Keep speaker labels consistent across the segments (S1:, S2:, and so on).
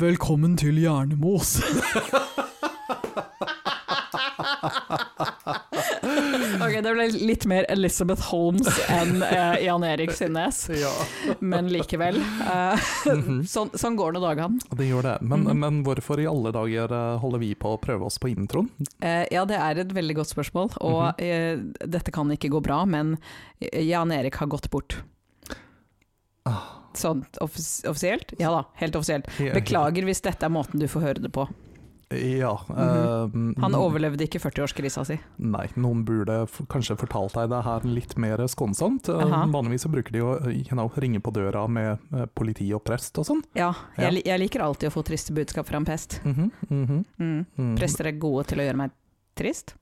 S1: Velkommen til Hjernemos. ok, det ble litt mer Elizabeth Holmes enn eh, Jan Erik Sinnes,
S2: Ja.
S1: men likevel. Eh,
S2: Mm.
S1: sånn, sånn går nå dagene.
S2: Mhm, Det gjør det. Men,
S1: Mhm.
S2: men hvorfor i alle dager eh, holder vi på å prøve oss på introen?
S1: Eh, ja, det er et veldig godt spørsmål, og eh, dette kan ikke gå bra, men eh, Jan Erik har gått bort. Sånn offis offisielt? Ja da, helt offisielt. Beklager hvis dette er måten du får høre det på.
S2: Ja. eh,
S1: Mhm. Han overlevde ikke 40-årskrisa si.
S2: Nei, noen burde f kanskje fortalt deg det her litt mer skånsomt. Eh,
S1: Aha.
S2: Vanligvis så bruker de å eh, you know, ringe på døra med eh, politi og prest og sånn.
S1: Ja,
S2: Ja.
S1: jeg, li- jeg liker alltid å få triste budskap fra en pest.
S2: Mhm, mhm,
S1: Mm.
S2: mhm.
S1: Prester er gode til å gjøre meg trist,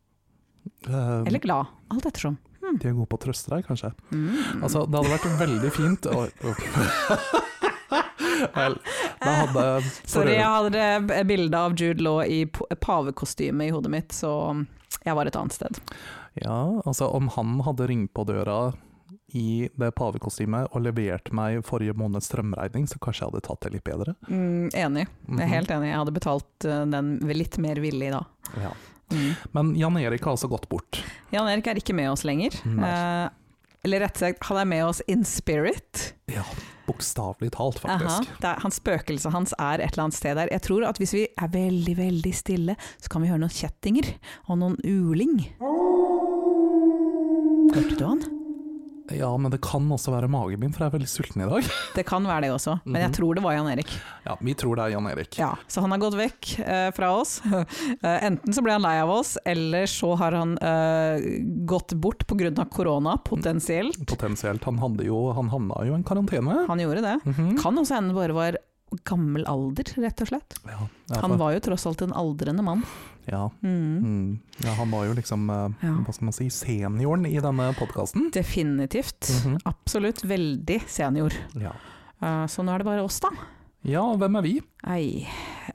S2: Eh,
S1: eller glad, alt ettersom.
S2: De er gode på å trøste deg, kanskje.
S1: Mm.
S2: Altså, det hadde vært veldig fint å Vel, det hadde eh, for
S1: Sorry, jeg
S2: øvrig-
S1: hadde b- bilde av Jude Law i po- pavekostyme i hodet mitt, så jeg var et annet sted.
S2: Ja, altså, om han hadde ringt på døra i det pavekostymet og levert meg forrige måneds strømregning, så kanskje jeg hadde tatt det litt bedre.
S1: Mm, enig, jeg er helt enig. Jeg hadde betalt eh, den litt mer villig da.
S2: Mhm. ja.
S1: Mm.
S2: Men Jan Erik har altså gått bort.
S1: Jan Erik er ikke med oss lenger.
S2: Nei.
S1: Eh, eller rett og slett, han er med oss in spirit.
S2: Ja, bokstavelig talt,
S1: Aha,
S2: faktisk.
S1: det er, han spøkelset hans er et eller annet sted der. Jeg tror at hvis vi er veldig, veldig stille, så kan vi høre noen kjettinger og noen uling. Hørte du han?
S2: Ja, men det kan også være magen min, for jeg er veldig sulten i dag.
S1: Det kan være det også, men
S2: Mhm.
S1: jeg tror det var Jan Erik.
S2: Ja, vi tror det er Jan Erik.
S1: Ja, så han har gått vekk eh, fra oss. Eh, enten så ble han lei av oss, eller så har han eh, gått bort pga. korona, potensielt.
S2: Potensielt. Han, hadde jo, han havna jo i en karantene.
S1: Han gjorde det.
S2: Mhm.
S1: Kan også hende det bare var gammel alder, rett og slett.
S2: ja, ja,
S1: Han var jo tross alt en aldrende mann.
S2: ja,
S1: Mm.
S2: mm. ja, han var jo liksom, eh,
S1: Ja.
S2: hva skal man si, senioren i denne podkasten.
S1: Definitivt.
S2: Mhm.
S1: Absolutt veldig senior.
S2: Ja.
S1: Eh, så nå er det bare oss, da.
S2: ja, og hvem er vi?
S1: Ei,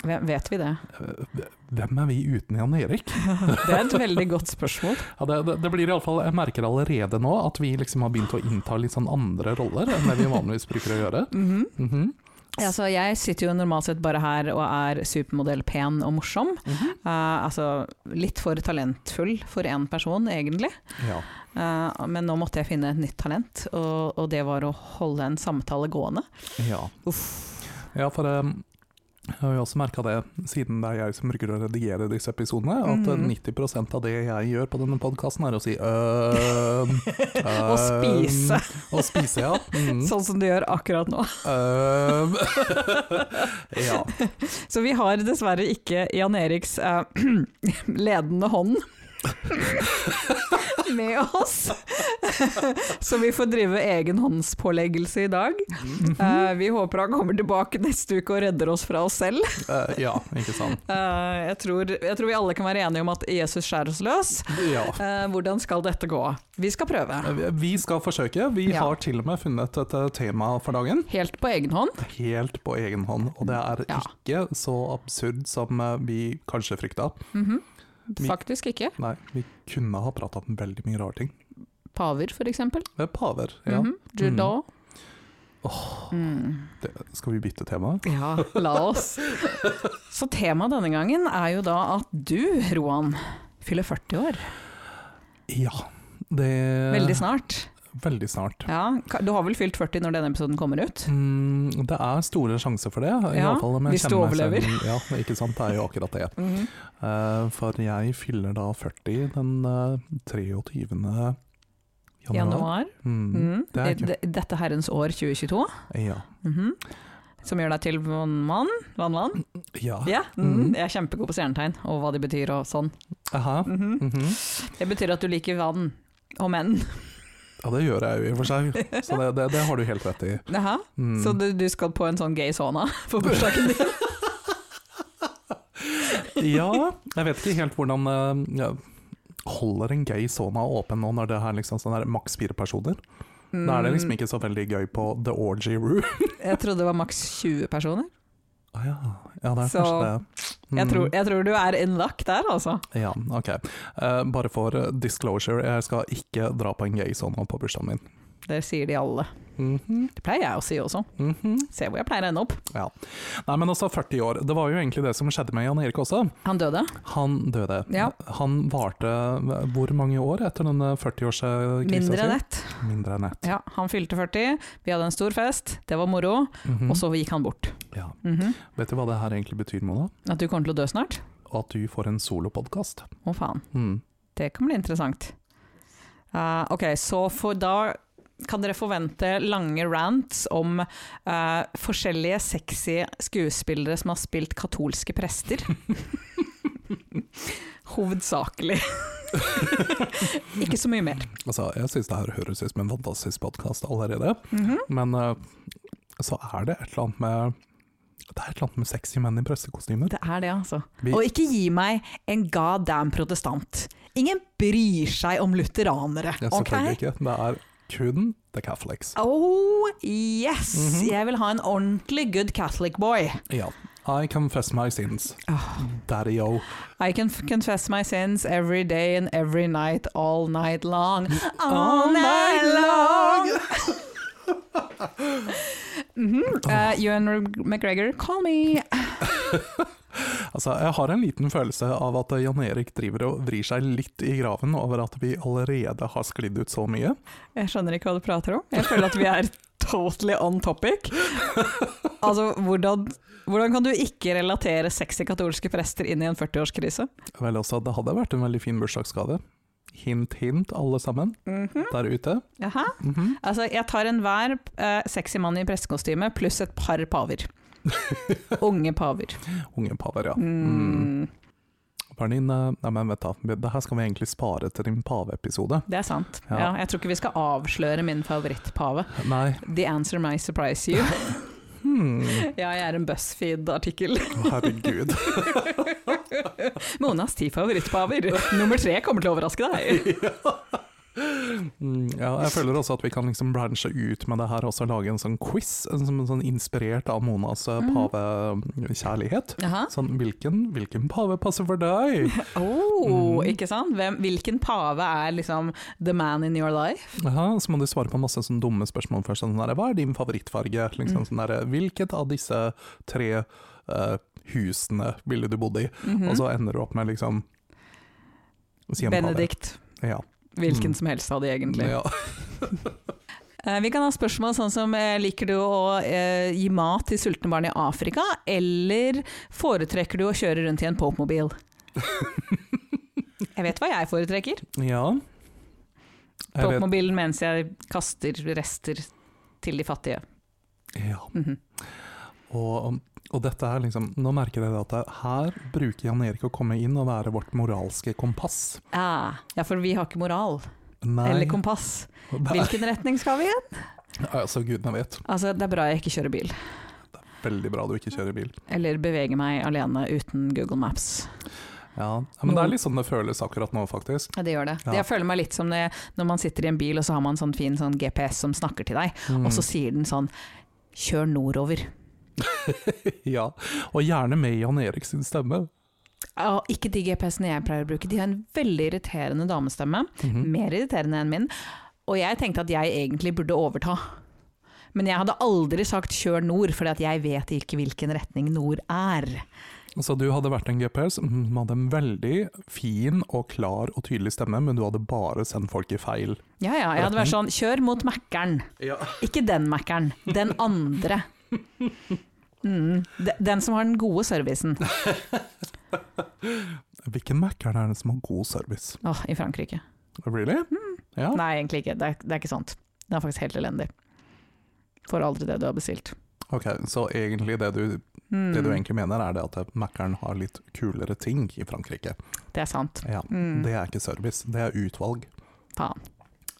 S1: ve- vet vi det?
S2: Eh, Hvem er vi uten Jan Erik?
S1: Det er et veldig godt spørsmål.
S2: Ja, det, det, det blir i alle fall, Jeg merker allerede nå at vi liksom har begynt å innta litt sånn andre roller enn det vi vanligvis bruker å gjøre.
S1: Mhm.
S2: Mhm.
S1: ja, så jeg sitter jo normalt sett bare her og er supermodell, pen og morsom.
S2: Mhm.
S1: Eh, altså litt for talentfull for én person, egentlig.
S2: Ja.
S1: Eh, men nå måtte jeg finne et nytt talent, og, og det var å holde en samtale gående.
S2: Ja. ja, for eh, jeg har jo også merka det, siden det er jeg som bruker å redigere disse episodene, at eh,
S1: Mhm.
S2: 90 av det jeg gjør på denne podkasten, er å si øhm,
S1: Og spise,
S2: Og spise, ja. Mhm,
S1: sånn som du gjør akkurat nå.
S2: øhm. ja.
S1: Så vi har dessverre ikke Jan Eriks eh, ledende hånd med oss. Så vi får drive egenhåndspåleggelse i dag. Eh, vi håper han kommer tilbake neste uke og redder oss fra oss selv.
S2: Eh, ja, ikke sant.
S1: Eh, jeg, tror, jeg tror vi alle kan være enige om at Jesus skjærer oss løs.
S2: Ja.
S1: Eh, hvordan skal dette gå? Vi skal prøve.
S2: Vi skal forsøke. Vi
S1: Ja.
S2: har til og med funnet et eh, tema for dagen,
S1: Helt på egen hånd.
S2: helt på egen hånd. Og det er
S1: Ja.
S2: ikke så absurd som eh, vi kanskje frykta.
S1: Mhm. Faktisk ikke.
S2: Nei, vi kunne ha prata om veldig mye rare ting.
S1: Paver, for eksempel.
S2: Eh, Paver, ja.
S1: Mhm. Jude Law. Mm.
S2: Det, skal vi bytte tema?
S1: Ja, la oss. Så temaet denne gangen er jo da at du, Roan, fyller 40 år.
S2: Ja. Det
S1: Veldig snart.
S2: Veldig snart.
S1: Ja, ka- du har vel fylt 40 når denne episoden kommer ut?
S2: Mm, det er store sjanser for det. i
S1: Ja,
S2: alle fall om jeg
S1: hvis du
S2: kjenner meg
S1: overlever.
S2: selv. Ja, ikke sant. Det er jo akkurat det.
S1: Mhm.
S2: Eh, for jeg fyller da 40 den eh, 23. januar.
S1: Januar.
S2: Mm,
S1: Mm.
S2: Det er
S1: I de- Dette herrens år 2022.
S2: Ja.
S1: Mhm. Som gjør deg til vannmann? Vannmann?
S2: ja.
S1: Ja, mhm.
S2: Mhm.
S1: jeg er kjempegod på stjernetegn og hva de betyr og sånn.
S2: Aha.
S1: Mhm.
S2: Mhm.
S1: Det betyr at du liker vann og menn.
S2: Ja, det gjør jeg jo i og for seg, så det, det, det har du helt rett i.
S1: Jaha.
S2: Mm.
S1: Så du, du skal på en sånn gay sauna for bursdagen din?
S2: Ja, jeg vet ikke helt hvordan eh, ja, Holder en gay sauna åpen nå når det er liksom sånn her maks fire personer? Da er det
S1: Mm.
S2: liksom ikke så veldig gøy på The Orgy Room.
S1: Jeg trodde det var maks 20 personer.
S2: Ah, ja. ja, det er
S1: Så,
S2: kanskje det.
S1: Jeg
S2: Mm.
S1: tror, jeg tror du er in luck der, altså.
S2: Ja, ok. Eh, bare for eh, disclosure, jeg skal ikke dra på en gay sauna på bursdagen min.
S1: Det sier de alle.
S2: Mhm,
S1: Det pleier jeg å si også.
S2: mhm.
S1: Se hvor jeg pleier å ende opp.
S2: Ja. Nei, men også 40 år. Det var jo egentlig det som skjedde med Jan Erik også.
S1: Han døde.
S2: Han døde.
S1: Ja.
S2: Han varte hvor mange år etter denne 40-årskrisa?
S1: Mindre enn ett.
S2: Mindre enn ett.
S1: Ja, han fylte 40. Vi hadde en stor fest. Det var moro.
S2: Mhm.
S1: Og så gikk han bort.
S2: ja.
S1: Mhm.
S2: Vet du hva det her egentlig betyr, Mona?
S1: At du kommer til å dø snart?
S2: At du får en solopodkast.
S1: Å faen,
S2: Mm.
S1: det kan bli interessant. Eh, ok, så for da kan dere forvente lange rants om eh, forskjellige sexy skuespillere som har spilt katolske prester. Hovedsakelig. Ikke så mye mer.
S2: Altså, jeg syns det her høres ut som en fantastisk podkast allerede,
S1: Mhm.
S2: men eh, så er det et eller annet med det er et eller annet med sexy menn i prestekostymer.
S1: Det er det, altså.
S2: Vi-
S1: Og ikke gi meg en god damn protestant. Ingen bryr seg om lutheranere,
S2: Ja,
S1: ok?
S2: selvfølgelig ikke. Det er kun The Catholics.
S1: Oh yes!
S2: Mhm.
S1: Jeg vil ha en ordentlig good catholic boy.
S2: Ja. I confess my sins.
S1: Ah.
S2: Daddy-o.
S1: I can f- confess my sins every day and every night, all night long. All night long! Mhm. Eh, Ewan McGregor, call me!
S2: Altså, jeg har en liten følelse av at Jan Erik driver og vrir seg litt i graven over at vi allerede har sklidd ut så mye.
S1: Jeg skjønner ikke hva du prater om. Jeg føler at vi er totally on topic. Altså, hvordan, hvordan kan du ikke relatere sexy katolske prester inn i en 40-årskrise?
S2: Vel også, det hadde vært en veldig fin bursdagsgave. Hint, hint, alle sammen der ute.
S1: Jaha.
S2: Mhm.
S1: Altså, jeg tar enhver eh, sexy mann i prestekostyme pluss et par paver. Unge paver.
S2: Unge paver, ja. Mm.
S1: Mm,
S2: Hva er din, eh, Nei, men vent da. Det her skal vi egentlig spare til din paveepisode.
S1: det er sant.
S2: Ja.
S1: Ja. jeg tror ikke vi skal avsløre min favorittpave.
S2: Nei.
S1: The answer may surprise you.
S2: Hmm.
S1: Ja, jeg er en BuzzFeed-artikkel.
S2: Å, Herregud.
S1: Monas ti favorittpaver. Nummer tre kommer til å overraske deg.
S2: Mm, Ja, jeg føler også at vi kan liksom branche ut med det her og også lage en sånn quiz, en sånn, sånn inspirert av Monas eh,
S1: Mhm.
S2: pavekjærlighet.
S1: Jaha.
S2: Sånn, hvilken, hvilken pave passer for deg?
S1: Oh,
S2: Mhm.
S1: ikke sant? Hvem, hvilken pave er liksom the man in your life?
S2: Aha, så må du svare på masse sånn dumme spørsmål først. Sånn der, hva er din favorittfarge? Liksom,
S1: Mm.
S2: sånn der, hvilket av disse tre eh, husene ville du bodd i?
S1: Mhm.
S2: Og så ender du opp med liksom si en pave.
S1: Benedikt.
S2: Ja.
S1: Hvilken
S2: Mm.
S1: som helst av de, egentlig.
S2: ja.
S1: Eh, Vi kan ha spørsmål sånn som eh, liker du å eh, gi mat til sultne barn i Afrika, eller foretrekker du å kjøre rundt i en Pope-mobil? Jeg vet hva jeg foretrekker.
S2: ja. Jeg vet,
S1: Pope-mobilen mens jeg kaster rester til de fattige.
S2: ja.
S1: Mhm.
S2: Og, og dette er liksom Nå merker dere at det- her bruker Jan Erik å komme inn og være vårt moralske kompass.
S1: ah, ja, for vi har ikke moral
S2: Nei,
S1: eller kompass.
S2: det
S1: Hvilken retning skal vi i?
S2: er, altså gudene vet.
S1: Altså, det er bra jeg ikke kjører bil,
S2: Veldig bra du ikke kjører bil.
S1: eller beveger meg alene uten Google Maps.
S2: Ja, ja Men det er litt sånn det føles akkurat nå, faktisk.
S1: Ja, det gjør det.
S2: Ja.
S1: Jeg føler meg litt som det, når man sitter i en bil og så har man sånn fin sånn GPS som snakker til deg.
S2: Mm.
S1: Og så sier den sånn Kjør nordover.
S2: Ja, og gjerne med Jan Erik sin stemme.
S1: Ja, ikke de GPS-ene jeg pleier å bruke. De har en veldig irriterende damestemme.
S2: Mhm.
S1: Mer irriterende enn min. Og jeg tenkte at jeg egentlig burde overta. Men jeg hadde aldri sagt 'kjør nord', fordi at jeg vet ikke hvilken retning nord er.
S2: Så du hadde vært en GPS som mm, hadde en veldig fin og klar og tydelig stemme, men du hadde bare sendt folk i feil.
S1: Ja ja, jeg hadde vært sånn 'kjør mot Mækkern'.
S2: Ja.
S1: Ikke den Mækkern, den andre. Mm, de- den som har den gode servicen.
S2: Hvilken Mac-er det som har god service?
S1: Åh, i Frankrike.
S2: Really? Ja.
S1: Nei, egentlig ikke. Det er, det er ikke sant. Den er faktisk helt elendig. Får aldri det du har bestilt.
S2: Ok, så egentlig det du
S1: Mm.
S2: Det du egentlig mener er det at Mac-eren har litt kulere ting i Frankrike.
S1: Det er sant.
S2: Ja,
S1: Mm.
S2: Det er ikke service, det er utvalg.
S1: Faen.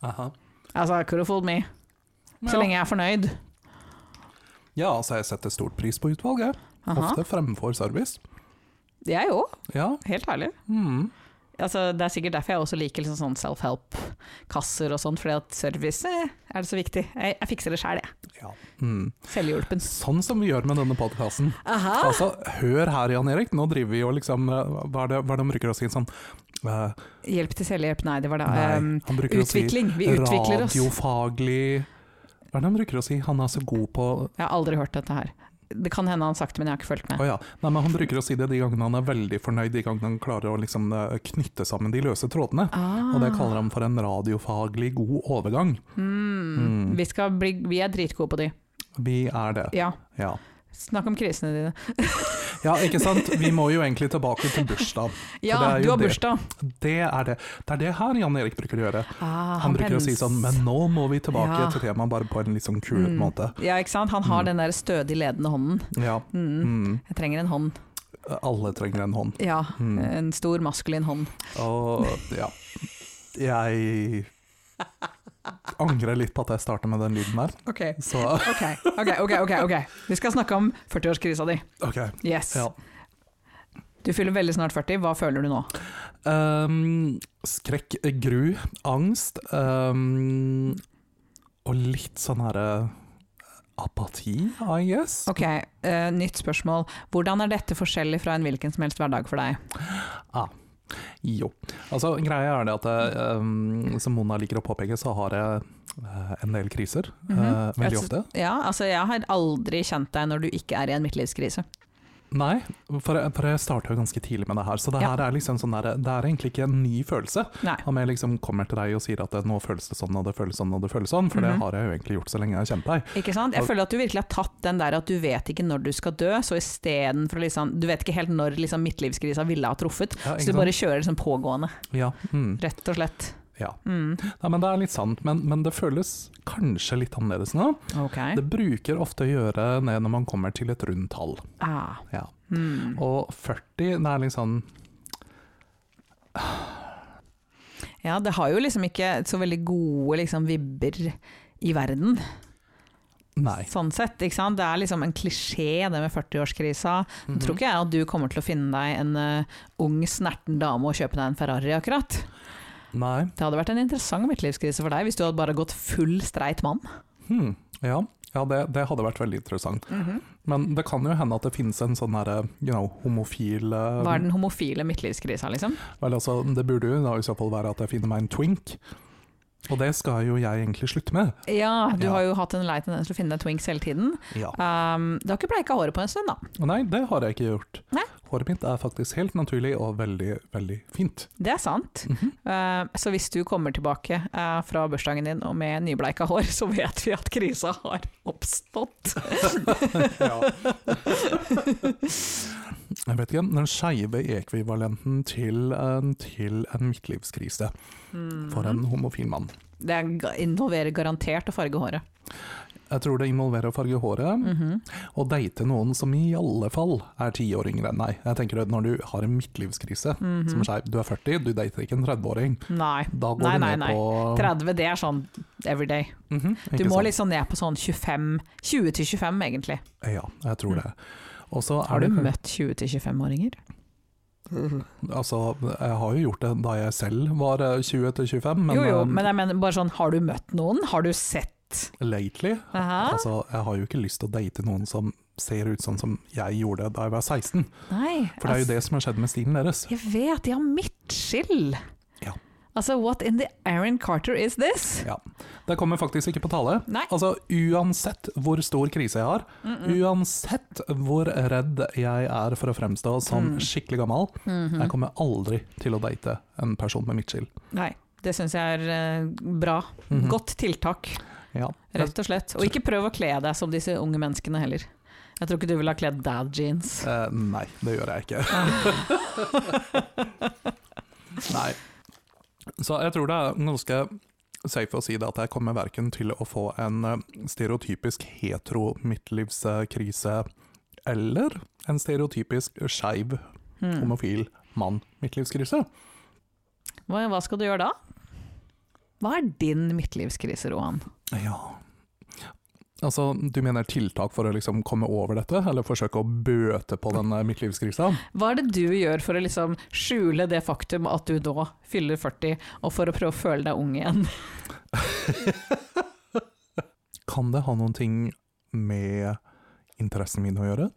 S2: Aha.
S1: Altså, could have fooled me. Så
S2: Ja.
S1: lenge jeg er fornøyd.
S2: Ja, altså jeg setter stort pris på utvalg, jeg.
S1: Aha.
S2: Ofte fremfor service.
S1: Jeg òg,
S2: Ja.
S1: helt ærlig.
S2: Mm.
S1: Altså, det er sikkert derfor jeg også liker liksom sånn self-help-kasser og sånn, fordi at service eh, er det så viktig. Jeg, jeg fikser det sjæl, jeg.
S2: ja. Mm.
S1: Selvhjulpen.
S2: Sånn som vi gjør med denne podkasten.
S1: Aha!
S2: Altså, hør her, Jan Erik. Nå driver vi jo liksom eh, Hva er det, hva er det han bruker å si? Sånn eh,
S1: Hjelp til selvhjelp, nei, det var da
S2: Nei,
S1: um,
S2: han bruker å si
S1: Utvikling. Vi utvikler oss.
S2: radiofaglig Hva er det han bruker å si? Han er så god på Å
S1: Jeg har aldri hørt dette her. Det kan hende han har sagt det, men jeg har ikke fulgt med.
S2: ja. Nei, men han bruker å si det de gangene han er veldig fornøyd, de gangene han klarer å liksom eh, knytte sammen de løse trådene.
S1: Ah.
S2: Og det kaller han for en radiofaglig god overgang.
S1: Mm.
S2: Mm.
S1: Vi, skal bli, vi er dritgode på de.
S2: Vi er det.
S1: Ja.
S2: Ja.
S1: Snakk om krisene dine.
S2: ja, ikke sant? Vi må jo egentlig tilbake til bursdag.
S1: Ja,
S2: det er
S1: du
S2: jo
S1: har
S2: det.
S1: bursdag!
S2: Det er det. Det er det her Jan Erik bruker å gjøre.
S1: Ah,
S2: Han bruker å si
S1: pens-
S2: sånn Men nå må vi tilbake
S1: Ja.
S2: til temaet, bare på en litt sånn kul
S1: Mm.
S2: måte.
S1: Ja, ikke sant. Han har
S2: Mm.
S1: den der stødig ledende hånden.
S2: Ja.
S1: Mm.
S2: Mm.
S1: Jeg trenger en hånd.
S2: Alle trenger en hånd.
S1: Ja,
S2: Mm.
S1: en stor maskulin hånd.
S2: Og ja. Jeg angrer litt på at jeg starta med den lyden der,
S1: Ok,
S2: så
S1: ok, ok. ok, ok, ok. Vi skal snakke om 40-årskrisa di.
S2: OK.
S1: Yes.
S2: Ja.
S1: Du fyller veldig snart 40, hva føler du nå?
S2: Ehm, skrekk, gru, angst ehm, og litt sånn herre apati, I guess.
S1: Ok, eh, nytt spørsmål. Hvordan er dette forskjellig fra en hvilken som helst hverdag for deg?
S2: Jo. Altså, greia er det at ehm, som Mona liker å påpeke, så har jeg eh, en del kriser. eh,
S1: Mhm.
S2: veldig
S1: Altså-
S2: ofte.
S1: Ja, altså jeg har aldri kjent deg når du ikke er i en midtlivskrise.
S2: Nei, for, jeg- for jeg starta jo ganske tidlig med det her, så det
S1: Ja.
S2: her er liksom sånn der, det er egentlig ikke en ny følelse.
S1: Nei.
S2: Om jeg liksom kommer til deg og sier at det, nå føles det sånn og det føles sånn og det føles sånn, for
S1: Mhm.
S2: det har jeg jo egentlig gjort så lenge jeg har kjent deg.
S1: Ikke sant? Jeg føler at du virkelig har tatt den der at du vet ikke når du skal dø, så istedenfor å liksom Du vet ikke helt når liksom midtlivskrisa ville ha truffet,
S2: Ja,
S1: så du bare kjører liksom pågående,
S2: ja, mm,
S1: rett og slett.
S2: ja.
S1: Mm.
S2: Nei, men det er litt sant, men, men det føles kanskje litt annerledes nå.
S1: Ok.
S2: Det bruker ofte å gjøre ned når man kommer til et rundt tall.
S1: Ah.
S2: Ja.
S1: Mm.
S2: Og 40, det er liksom
S1: Ja, det har jo liksom ikke så veldig gode liksom, vibber i verden,
S2: Nei.
S1: sånn sett. Ikke sant? Det er liksom en klisjé, det med 40-årskrisa. Nå Mm-hmm.
S2: Mhm.
S1: tror ikke jeg at du kommer til å finne deg en eh, ung, snerten dame og kjøpe deg en Ferrari, akkurat.
S2: Nei.
S1: Det hadde vært en interessant midtlivskrise for deg hvis du hadde bare gått full streit mann.
S2: Hmm. Ja, ja det, det hadde vært veldig interessant. Men det kan jo hende at det finnes en sånn herre you know, homofil eh,
S1: Hva er den homofile midtlivskrisa, liksom?
S2: Vel, altså, det burde jo da i så fall være at jeg finner meg en twink. Og det skal jo jeg egentlig slutte med.
S1: Ja, du
S2: Ja.
S1: har jo hatt en lei tendens til å finne deg twinks hele tiden.
S2: Ja.
S1: Um, du har ikke bleika håret på en stund, da.
S2: Og nei, det har jeg ikke gjort.
S1: Nei.
S2: Håret mitt er faktisk helt naturlig og veldig, veldig fint.
S1: Det er sant.
S2: Mhm.
S1: Eh, så hvis du kommer tilbake eh, fra bursdagen din og med nybleika hår, så vet vi at krisa har oppstått.
S2: Jeg vet ikke, den skeive ekvivalenten til, en- til en midtlivskrise for
S1: Mhm.
S2: en homofil mann.
S1: Det er ga- involverer garantert å farge håret.
S2: Jeg tror det involverer å farge håret,
S1: Mhm.
S2: og date noen som i alle fall er ti år yngre enn deg. Jeg tenker at når du har en midtlivskrise
S1: Mhm.
S2: som skeiv, du er 40, du dater ikke en 30-åring.
S1: Nei.
S2: Da går
S1: Nei,
S2: du
S1: nei,
S2: ned
S1: nei.
S2: på
S1: 30, det er sånn everyday.
S2: Mhm,
S1: Du
S2: ikke
S1: må
S2: sant?
S1: liksom ned på sånn 25 20 til 25, egentlig.
S2: Ja, jeg tror det. Og så er
S1: Har liksom- Mm. du
S2: det-
S1: møtt 20 til 25-åringer?
S2: Altså, jeg har jo gjort det da jeg selv var eh, 20 til 25, men,
S1: Jo jo,
S2: eh,
S1: men jeg mener bare sånn, har du møtt noen? Har du sett?
S2: lately
S1: Aha.
S2: Altså, jeg har jo ikke lyst til å date noen som ser ut sånn som jeg gjorde da jeg var 16.
S1: Nei.
S2: For det er jo
S1: ass.
S2: det som har skjedd med stilen deres.
S1: Jeg vet, de har midtskill.
S2: Ja.
S1: Altså, what in the Aaron Carter is this?
S2: Ja. Det kommer faktisk ikke på tale.
S1: Nei.
S2: Altså, uansett hvor stor krise jeg har, uansett hvor redd jeg er for å fremstå som
S1: Mm.
S2: skikkelig gammel, jeg kommer aldri til å date en person med midtskill.
S1: Nei, det syns jeg er eh, bra.
S2: Mhm.
S1: Godt tiltak,
S2: Ja.
S1: rett og slett. Og ikke prøv å kle deg som disse unge menneskene heller. Jeg tror ikke du ville ha kledd dad jeans.
S2: Eh, nei, det gjør jeg ikke. nei. Så jeg tror det er ganske safe å si det at jeg kommer verken til å få en eh, stereotypisk hetero midtlivskrise eller en stereotypisk skeiv
S1: Hmm.
S2: homofil mann midtlivskrise.
S1: Hva, hva skal du gjøre da? Hva er din midtlivskrise, Rohan?
S2: Ja. Altså, Du mener tiltak for å liksom komme over dette, eller forsøke å bøte på den eh, midtlivskrisa?
S1: Hva er det du gjør for å liksom skjule det faktum at du nå fyller 40, og for å prøve å føle deg ung igjen?
S2: Kan det ha noen ting med interessen min å gjøre?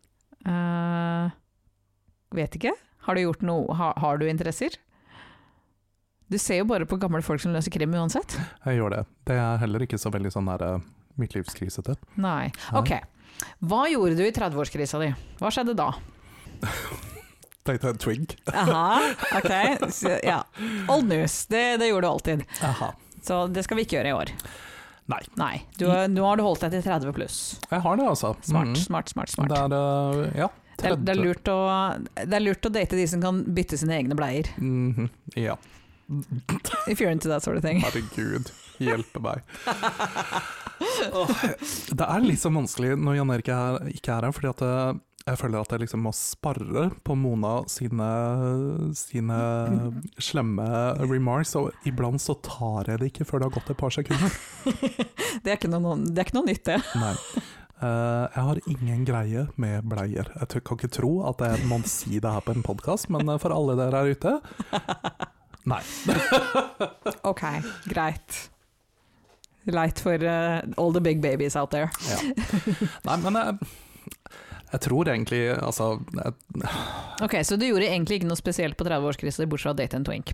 S1: Eh, vet ikke. Har du gjort noe ha, Har du interesser? Du ser jo bare på gamle folk som løser krim uansett.
S2: Jeg gjør det. Det er heller ikke så veldig sånn der eh, midtlivskrisete.
S1: Nei. Ok. Hva gjorde du i 30-årskrisa di? Hva skjedde da?
S2: Tenkte en twig.
S1: Aha, ok. Så, ja. Old news. Det, det gjorde du alltid.
S2: Aha.
S1: Så det skal vi ikke gjøre i år.
S2: Nei.
S1: Nei. Du, har- nå har du holdt deg til 30 pluss.
S2: Jeg har det, altså.
S1: Smart,
S2: Mm.
S1: smart, smart. smart.
S2: Det er eh, ja.
S1: Det er, det, er lurt å, det er lurt å date de som kan bytte sine egne bleier.
S2: Mhm. Ja.
S1: If you're into that sort of thing.
S2: Herregud, hjelpe meg. Det er litt sånn vanskelig når Jan Erik er, ikke er her, fordi at eh, jeg føler at jeg liksom må sparre på Mona sine, sine slemme remarks, og iblant så tar jeg det ikke før det har gått et par sekunder.
S1: Det er ikke noe, det er ikke noe nytt, det.
S2: Nei. Eh, jeg har ingen greie med bleier. Jeg tør- kan ikke tro at jeg må si det her på en podkast, men eh, for alle dere her ute Nei.
S1: Ok, greit. Leit for eh, all the big babies out there.
S2: Ja. Nei, men jeg, jeg tror egentlig Altså, jeg,
S1: Ok, Så du gjorde egentlig ikke noe spesielt på 30-årskrisa, bortsett fra å date en twink.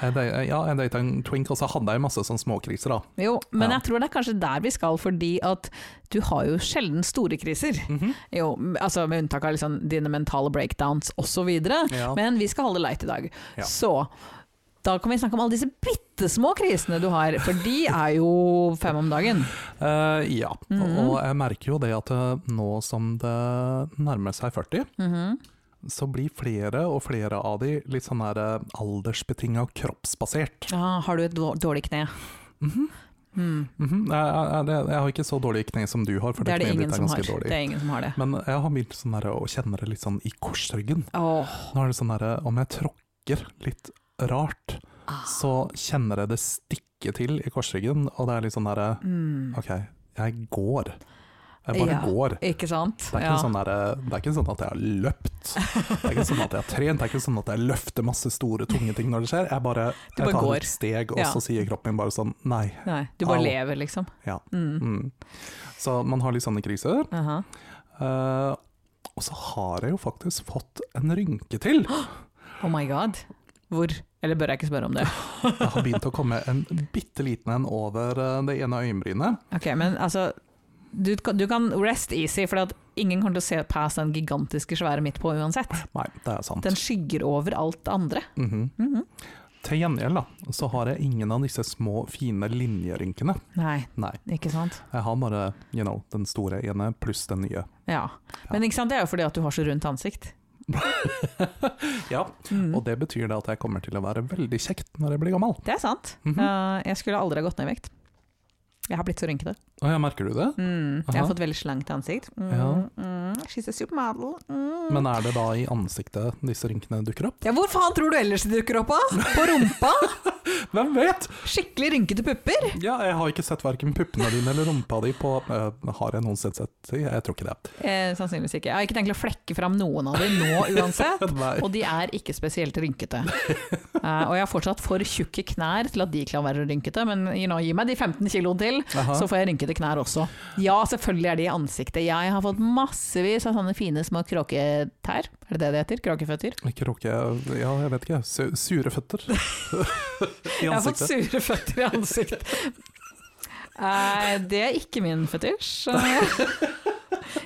S2: jeg, da- ja, jeg data en twink, og så hadde jeg masse sånn småkriser, da.
S1: Jo, men
S2: Ja.
S1: jeg tror det er kanskje der vi skal, fordi at du har jo sjelden store kriser. Jo, m- altså Med unntak av liksom dine mentale breakdowns osv.
S2: Ja.
S1: Men vi skal holde leit i dag.
S2: Ja.
S1: Så da kan vi snakke om alle disse bitte små krisene du har, for de er jo fem om dagen.
S2: Eh, ja.
S1: Mhm.
S2: Og jeg merker jo det at eh, nå som det nærmer seg 40,
S1: Mhm.
S2: så blir flere og flere av de litt sånn der eh, aldersbetinga og kroppsbasert.
S1: ah, har du et dår- dårlig kne?
S2: Mhm.
S1: Mm.
S2: Mhm. jeg, jeg, jeg har ikke så dårlige kne som du har, for
S1: Det er det
S2: kneet
S1: ingen
S2: ditt er
S1: som har.
S2: ganske
S1: Det
S2: dårlig.
S1: er ingen som har det.
S2: Men jeg har begynt sånn der, å kjenne det litt sånn i korsryggen.
S1: Åh.
S2: Nå er det sånn der, Om jeg tråkker litt rart,
S1: Ah,
S2: så kjenner jeg det stikke til i korsryggen, og det er litt sånn derre
S1: Mm.
S2: Ok, jeg går. Jeg bare
S1: Ja.
S2: går.
S1: Ikke sant?
S2: Det er, ikke
S1: Ja.
S2: sånn derre- det er ikke sånn at jeg har løpt, det er ikke sånn at jeg har trent, det er ikke sånn at jeg løfter masse store, tunge ting når det skjer. Jeg bare,
S1: Du
S2: jeg
S1: bare
S2: tar
S1: går.
S2: et steg, og
S1: Ja.
S2: så sier kroppen min bare sånn nei.
S1: Nei, du bare
S2: Au.
S1: lever, liksom.
S2: Ja.
S1: Mm.
S2: Mm. Så man har litt sånne kriser.
S1: Aha.
S2: Eh, og så har jeg jo faktisk fått en rynke til.
S1: Oh my god. Hvor? Eller bør jeg ikke spørre om det?
S2: Jeg har begynt å komme en bitte liten en over eh, det ene øyenbrynet.
S1: Ok, men altså du, kan- du kan rest easy, for ingen kommer til å se past den gigantiske svære midt på uansett.
S2: Nei, det er sant.
S1: Den skygger over alt det andre.
S2: Mhm.
S1: Mhm.
S2: Til gjengjeld da, så har jeg ingen av disse små, fine linjerynkene.
S1: Nei,
S2: Nei,
S1: ikke sant?
S2: jeg har bare you know, den store ene pluss den nye.
S1: Ja. Men ikke sant, det er jo fordi at du har så rundt ansikt.
S2: Ja,
S1: Mhm.
S2: Og det betyr da at jeg kommer til å være veldig kjekt når jeg blir gammel.
S1: Det er sant.
S2: Mhm.
S1: Eh, jeg skulle aldri ha gått ned i vekt. Jeg har blitt så rynkete.
S2: Og ja, merker du det?
S1: Mm. Jeg har
S2: Aha.
S1: fått veldig slankt ansikt. Mm.
S2: Ja.
S1: Mm. She's a supermodel. Mm.
S2: Men er det da i ansiktet disse rynkene dukker opp?
S1: ja, hvor faen tror du ellers de dukker opp av? På rumpa?
S2: Hvem vet?
S1: Skikkelig rynkete pupper?
S2: Ja, jeg har ikke sett verken puppene dine eller rumpa di på eh, Har jeg noensinne sett Jeg tror ikke det.
S1: Eh, sannsynligvis ikke. Jeg har ikke tenkt å flekke fram noen av dem nå uansett.
S2: Nei.
S1: Og de er ikke spesielt rynkete. Eh, og jeg har fortsatt for tjukke knær til at de kan være rynkete, men you know, gi meg de 15 kiloene til,
S2: Aha.
S1: så får jeg rynkete knær også. Ja, selvfølgelig er de i ansiktet. Jeg har fått massevis av sånne fine små kråketær, er det det det heter? Kråkeføtter?
S2: Kråke Ja, jeg vet ikke. Su- Sure føtter i
S1: Jeg har fått
S2: ansiktet.
S1: sure føtter i ansiktet. Eh, det er ikke min fetisj.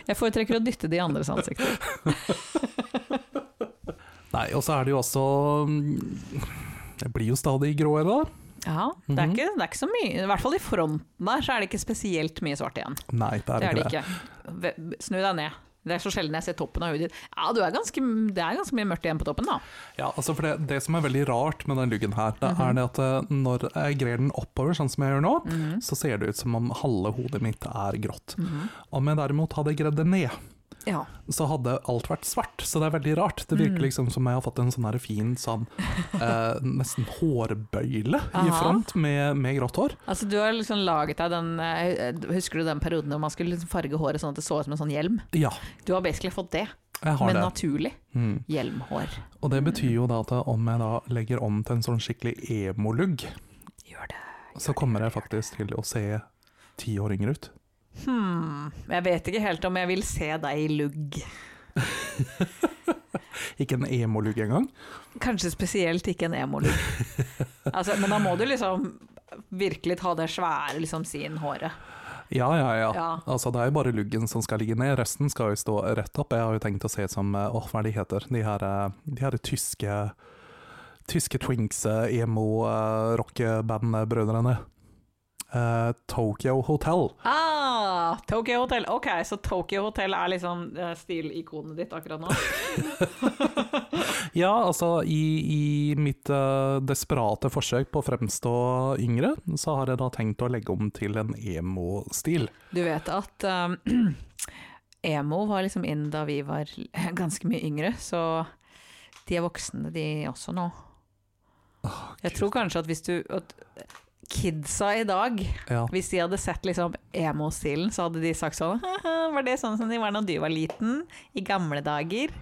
S1: Jeg foretrekker å dytte de andres ansikter.
S2: Nei, og så er det jo også mm, Jeg blir jo stadig gråere, da.
S1: Ja, det
S2: Mhm.
S1: er, ikke, det er ikke så mye. I hvert fall i fronten der, så er det ikke spesielt mye svart igjen.
S2: Nei, det er,
S1: Det er det
S2: ikke det.
S1: ikke. Ve- Snu deg ned. Det er så sjelden jeg ser toppen av hodet ditt. Ja, du er ganske, det er ganske mye mørkt igjen på toppen, da.
S2: Ja, altså for det, det som er veldig rart med den luggen her, det
S1: Mhm.
S2: er det at eh, når jeg grer den oppover, sånn som jeg gjør nå,
S1: Mm. Mhm.
S2: så ser det ut som om halve hodet mitt er grått. Om jeg derimot hadde gredd det ned,
S1: Ja.
S2: så hadde alt vært svart. Så det er veldig rart. Det virker
S1: Mm.
S2: liksom som jeg har fått en sånn her fin sånn eh, nesten hårbøyle i
S1: Aha.
S2: front med, med grått hår.
S1: Altså, du har liksom laget deg den eh, Husker du den perioden hvor man skulle liksom farge håret sånn at det så ut som en sånn hjelm?
S2: Ja,
S1: Du har basically fått det,
S2: jeg har
S1: men Mm.
S2: det.
S1: naturlig
S2: Mm.
S1: hjelmhår.
S2: Og det betyr jo da at eh, om jeg da legger om til en sånn skikkelig emolugg,
S1: Gjør det.
S2: så kommer jeg faktisk til å se ti år yngre ut.
S1: Hmm. Jeg vet ikke helt om jeg vil se deg i lugg.
S2: Ikke en emolugg engang.
S1: Kanskje spesielt ikke en emolugg. altså, men da må du liksom virkelig ta det svære liksom, sin-håret.
S2: Ja, ja, ja.
S1: Ja.
S2: Altså, det er jo bare luggen som skal ligge ned, resten skal jo stå rett opp. Jeg har jo tenkt å se ut som, eh, åh, hva er de heter, de her, eh, de her tyske, tyske twinks, eh, emo, eh, rockeband-brødrene. Eh, Tokyo Hotel.
S1: Ah, Tokyo Hotel. Ok, så Tokyo Hotel er liksom eh, stilikonet ditt akkurat nå?
S2: Ja, altså, i, i mitt eh, desperate forsøk på å fremstå yngre, så har jeg da tenkt å legge om til en emo-stil.
S1: Du vet at um, emo var liksom inn da vi var l- ganske mye yngre, så de er voksne de også nå. Jeg tror kanskje at hvis du at Kidsa i dag,
S2: Ja,
S1: hvis de hadde sett liksom emo-stilen, så hadde de sagt sånn «Haha, Var det sånn som de var da du var liten? I gamle dager?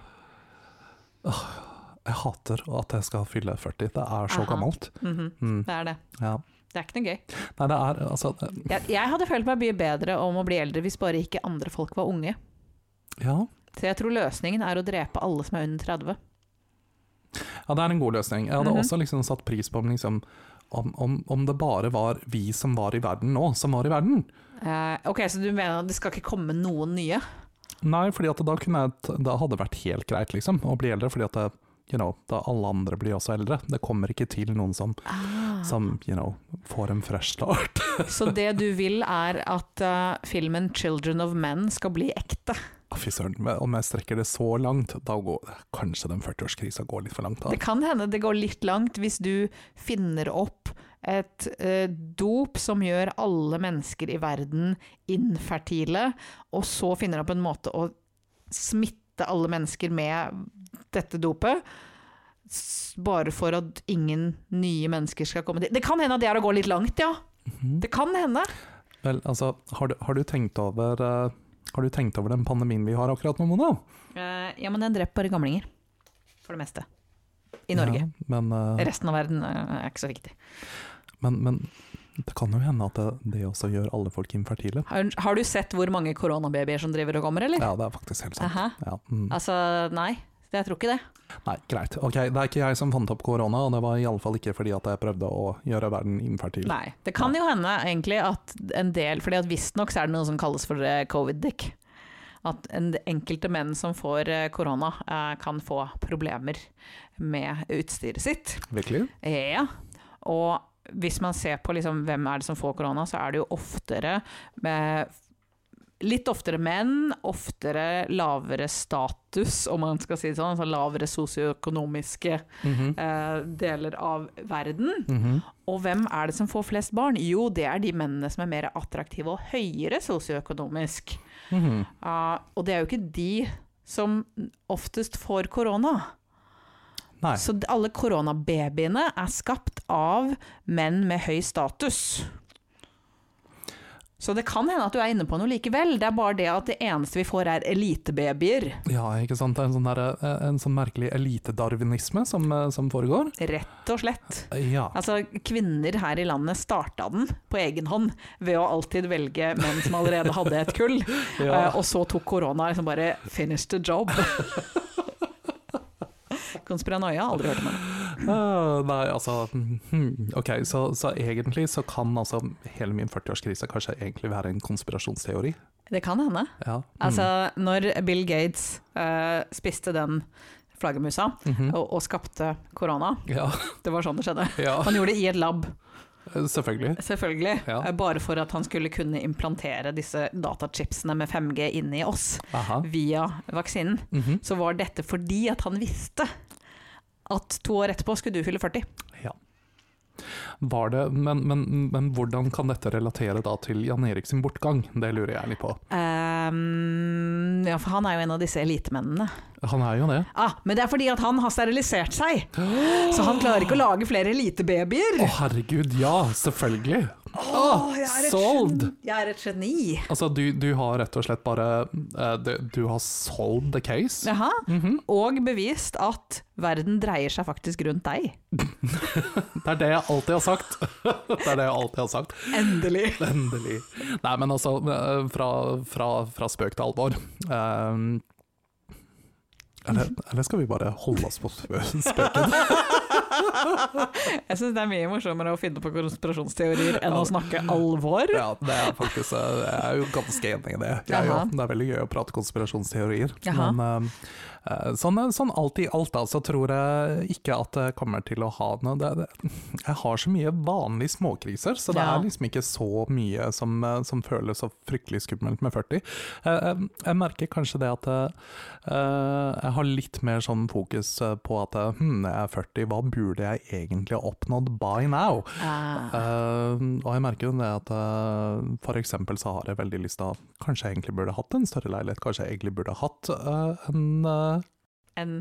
S2: jeg hater at jeg skal fylle 40, det er så
S1: Aha.
S2: gammelt.
S1: Mhm,
S2: Mm,
S1: Det er det.
S2: ja.
S1: Det er ikke noe gøy.
S2: Nei, det er, altså, det-
S1: Jeg, jeg hadde følt meg mye bedre om å bli eldre hvis bare ikke andre folk var unge.
S2: ja.
S1: Så jeg tror løsningen er å drepe alle som er under 30.
S2: Ja, det er en god løsning. Jeg hadde
S1: Mhm.
S2: også liksom satt pris på om, liksom, om, om, om det bare var vi som var i verden nå, som var i verden.
S1: Eh, ok, Så du mener at det skal ikke komme noen nye?
S2: Nei, fordi at da, kunne jeg, t- da hadde det vært helt greit liksom, å bli eldre, fordi at det, you know, da alle andre blir også eldre. Det kommer ikke til noen som,
S1: Ah.
S2: som you know, får en fresh start.
S1: Så det du vil er at eh, filmen 'Children of Men' skal bli ekte?
S2: Å, Fy søren, men om jeg strekker det så langt, da går kanskje den 40-årskrisa går litt for langt. Da.
S1: Det kan hende det går litt langt hvis du finner opp et eh, dop som gjør alle mennesker i verden infertile, og så finner opp en måte å smitte alle mennesker med dette dopet. s- Bare for at ingen nye mennesker skal komme til Det kan hende at det er å gå litt langt, ja.
S2: Mhm.
S1: Det kan hende.
S2: Vel, altså, har du, har du tenkt over... eh, har du tenkt over den pandemien vi har akkurat nå, Mona?
S1: Eh, ja, men den dreper bare gamlinger. For det meste. I Norge.
S2: Ja, men, eh,
S1: Resten av verden eh, er ikke så viktig.
S2: Men, men det kan jo hende at det, det også gjør alle folk infertile.
S1: Har, har du sett hvor mange koronababyer som driver og kommer, eller?
S2: Ja, det er faktisk helt sant.
S1: Aha.
S2: Ja, mm.
S1: Altså, nei. Jeg tror ikke det.
S2: Nei, greit. Ok, Det er ikke jeg som fant opp korona, og det var iallfall ikke fordi at jeg prøvde å gjøre verden infertil.
S1: Nei. Det kan jo hende egentlig at en del fordi at visstnok så er det noe som kalles for eh, covid-dick. At en, enkelte menn som får eh, korona, eh, kan få problemer med utstyret sitt.
S2: Virkelig?
S1: Ja, og hvis man ser på liksom, hvem er det som får korona, så er det jo oftere med Litt oftere menn, oftere lavere status, om man skal si det sånn. Altså lavere sosioøkonomiske
S2: Mm.
S1: eh, deler av verden.
S2: Mhm.
S1: Og hvem er det som får flest barn? Jo, det er de mennene som er mer attraktive og høyere sosioøkonomisk.
S2: Mhm.
S1: Ah, og det er jo ikke de som oftest får korona.
S2: Nei.
S1: Så d- alle koronababyene er skapt av menn med høy status. Så det kan hende at du er inne på noe likevel, det er bare det at det eneste vi får er elitebabyer.
S2: Ja, ikke sant. Det er en sånn, der, eh, en sånn merkelig elitedarwinisme som, eh, som foregår.
S1: Rett og slett.
S2: Ja.
S1: Altså, kvinner her i landet starta den på egen hånd ved å alltid velge menn som allerede hadde et kull, eh,
S2: ja.
S1: og så tok korona liksom bare 'finish the job'. Konspiranoia, aldri hørt om det.
S2: Eh, Nei, altså hmm. Ok, så, så egentlig så kan altså hele min 40-årskrise kanskje egentlig være en konspirasjonsteori.
S1: Det kan hende.
S2: Ja.
S1: Altså, når Bill Gates eh, spiste den flaggermusa
S2: Mm. Mhm.
S1: og, og skapte korona,
S2: Ja,
S1: det var sånn det skjedde.
S2: ja,
S1: Han gjorde det i et lab,
S2: selvfølgelig.
S1: selvfølgelig.
S2: Ja.
S1: eh, Bare for at han skulle kunne implantere disse datachipsene med 5G inn i oss
S2: Aha.
S1: via vaksinen.
S2: Mhm.
S1: Så var dette fordi at han visste at to år etterpå skulle du fylle 40.
S2: Ja. Var det, men, men, men hvordan kan dette relatere da til Jan Erik sin bortgang? Det lurer jeg litt på.
S1: Ehm, ja, for han er jo en av disse elitemennene.
S2: Han er jo det.
S1: Ah, men det er fordi at han har sterilisert seg! Så han klarer ikke å lage flere elitebabyer.
S2: Å herregud, ja, selvfølgelig!
S1: Åh, jeg er et
S2: solved!
S1: gen- Jeg er et geni.
S2: Altså, du, du har rett og slett bare eh, du, du har solved the case.
S1: Jaha. Mhm. Og bevist at verden dreier seg faktisk rundt deg.
S2: Det er det jeg alltid har sagt. det er det jeg alltid har sagt.
S1: Endelig.
S2: Endelig. Nei, men altså, eh, fra, fra, fra spøk til alvor. Ehm, eller, eller skal vi bare holde oss på spø- spøken?
S1: Jeg syns det er mye morsommere å finne på konspirasjonsteorier enn å snakke alvor.
S2: Ja, det er faktisk, eh, jeg er jo ganske enig i det. Jeg,
S1: Jaha.
S2: òg. det er veldig gøy å prate konspirasjonsteorier.
S1: Jaha.
S2: Men eh, eh, sånn, sånn alt i alt, altså, tror jeg ikke at det kommer til å ha noe det, det, Jeg har så mye vanlige småkriser, så det
S1: Ja.
S2: er liksom ikke så mye som, eh, som føles så fryktelig skummelt med 40. Jeg, jeg, jeg merker kanskje det at eh, jeg har litt mer sånn fokus eh, på at eh, hm, jeg er 40, hva burde jeg egentlig ha oppnådd by now?
S1: Eh,
S2: Eh, og jeg merker jo det at uh, for eksempel så har jeg veldig lyst til å Kanskje jeg egentlig burde hatt en større leilighet, kanskje jeg egentlig burde hatt eh, en eh,
S1: enn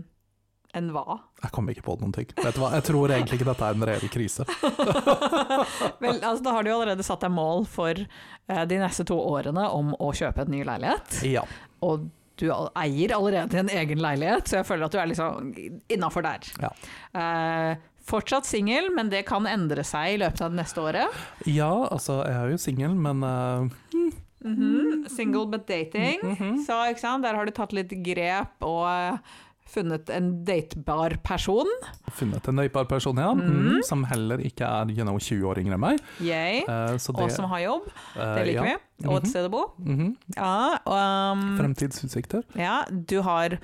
S1: enn hva?
S2: Jeg kommer ikke på noen ting. Vet du hva, jeg tror egentlig ikke dette er en reell krise.
S1: Vel, altså, da har du jo allerede satt deg mål for eh, de neste to årene om å kjøpe en ny leilighet.
S2: Ja.
S1: Og du al- eier allerede en egen leilighet, så jeg føler at du er liksom innafor der.
S2: Ja.
S1: Eh, fortsatt singel, men det kan endre seg i løpet av det neste året.
S2: ja, altså, jeg er jo singel, men eh,
S1: Mhm. Single but dating.
S2: Mhm,
S1: Så ikke sant? der har du tatt litt grep og eh, funnet en datebar person.
S2: funnet en nøybar person, ja.
S1: Mhm.
S2: Mm, som heller ikke er you know, 20 år yngre enn meg.
S1: Yay.
S2: Eh, så det,
S1: Og som har jobb.
S2: eh,
S1: Det liker
S2: ja.
S1: vi. Og et sted å bo.
S2: Mhm.
S1: Ja, og, um,
S2: Fremtidsutsikter.
S1: ja, du har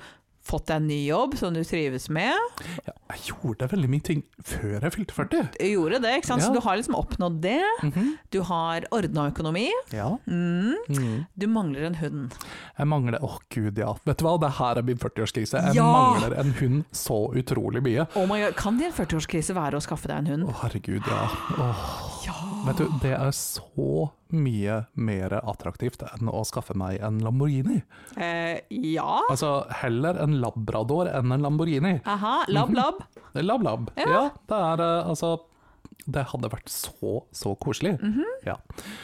S1: fått deg en ny jobb som du trives med.
S2: Ja, jeg gjorde veldig mye ting før jeg fylte 40.
S1: Du gjorde det, ikke sant?
S2: Ja.
S1: så du har liksom oppnådd det.
S2: Mhm.
S1: Du har ordna økonomi.
S2: Ja.
S1: Mm.
S2: Mm.
S1: Du mangler en hund.
S2: Jeg mangler Åh, gud, ja. Vet du hva, det her er min 40-årskrise. Jeg
S1: Ja!
S2: mangler en hund så utrolig mye.
S1: Oh my God. Kan det i en 40-årskrise være å skaffe deg en hund?
S2: Å, herregud, ja. Åh. Vet du, det er så mye mer attraktivt enn å skaffe meg en Lamborghini.
S1: Eh, ja.
S2: Altså, heller en labrador enn en Lamborghini.
S1: Aha. Lab, lab.
S2: Lab-lab. Ja. det er eh, altså Det hadde vært så, så koselig. Ja.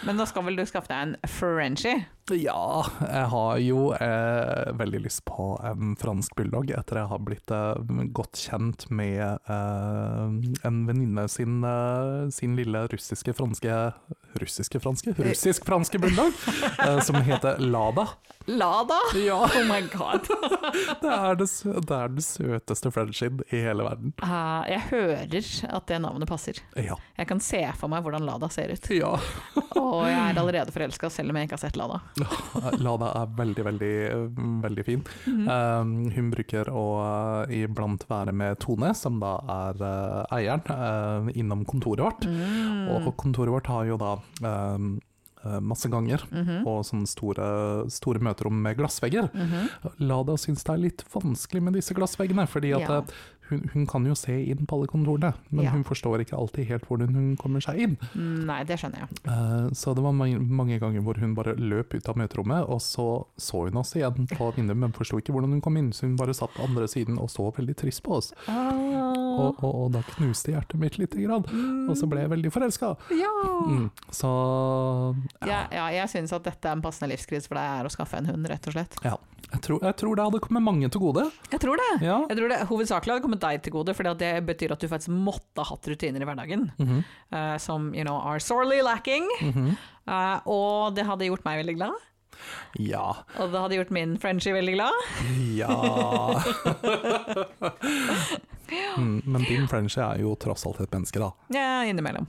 S1: Men da skal vel du skaffe deg en Frenchie?
S2: Ja, jeg har jo eh, veldig lyst på en fransk bulldog etter jeg har blitt eh, godt kjent med eh, en venninne sin, eh, sin lille russiske franske Russiske franske? Russisk franske bulldog, eh, som heter Lada.
S1: Lada?
S2: Ja,
S1: Oh my god.
S2: det er, det, sø- det er den søteste frenchien i hele verden.
S1: Eh, jeg hører at det navnet passer.
S2: Ja.
S1: Jeg kan se for meg hvordan Lada ser ut.
S2: ja.
S1: Og jeg er allerede forelska, selv om jeg ikke har sett Lada.
S2: Lada er veldig, veldig, eh, veldig fin.
S1: Mhm.
S2: Eh, hun bruker å eh, iblant være med Tone, som da er eh, eieren, eh, innom kontoret vårt.
S1: Mm.
S2: Og kontoret vårt har jo da eh, eh, masse ganger
S1: Mhm. Mm.
S2: og sånne store, store møterom med glassvegger.
S1: Mhm.
S2: Lada syns det er litt vanskelig med disse glassveggene, fordi at
S1: Ja.
S2: eh, hun, hun kan jo se inn på alle kontorene, men
S1: Ja.
S2: hun forstår ikke alltid helt hvordan hun kommer seg inn.
S1: Mm, Nei, det skjønner jeg.
S2: Eh, Så det var mange, mange ganger hvor hun bare løp ut av møterommet, og så så hun oss igjen på vinduet, men forsto ikke hvordan hun kom inn, så hun bare satt på andre siden og så veldig trist på oss.
S1: Ah,
S2: Og, og, og da knuste hjertet mitt lite grann, og så ble jeg veldig forelska.
S1: mm, Ja.
S2: Mm. Så
S1: Ja, ja, jeg syns at dette er en passende livskrise for deg, er å skaffe en hund, rett og slett.
S2: ja, jeg tror, jeg tror det hadde kommet mange til gode.
S1: Jeg tror det.
S2: Ja.
S1: Jeg tror det Hovedsakelig hadde kommet deg til gode, for det betyr at du faktisk måtte ha hatt rutiner i hverdagen
S2: Mhm,
S1: eh, som you know, are sorely lacking.
S2: mhm.
S1: Eh, og det hadde gjort meg veldig glad,
S2: Ja.
S1: og det hadde gjort min Frenchie veldig glad.
S2: Ja mm, Men din Frenchie er jo tross alt et menneske, da.
S1: Ja, innimellom.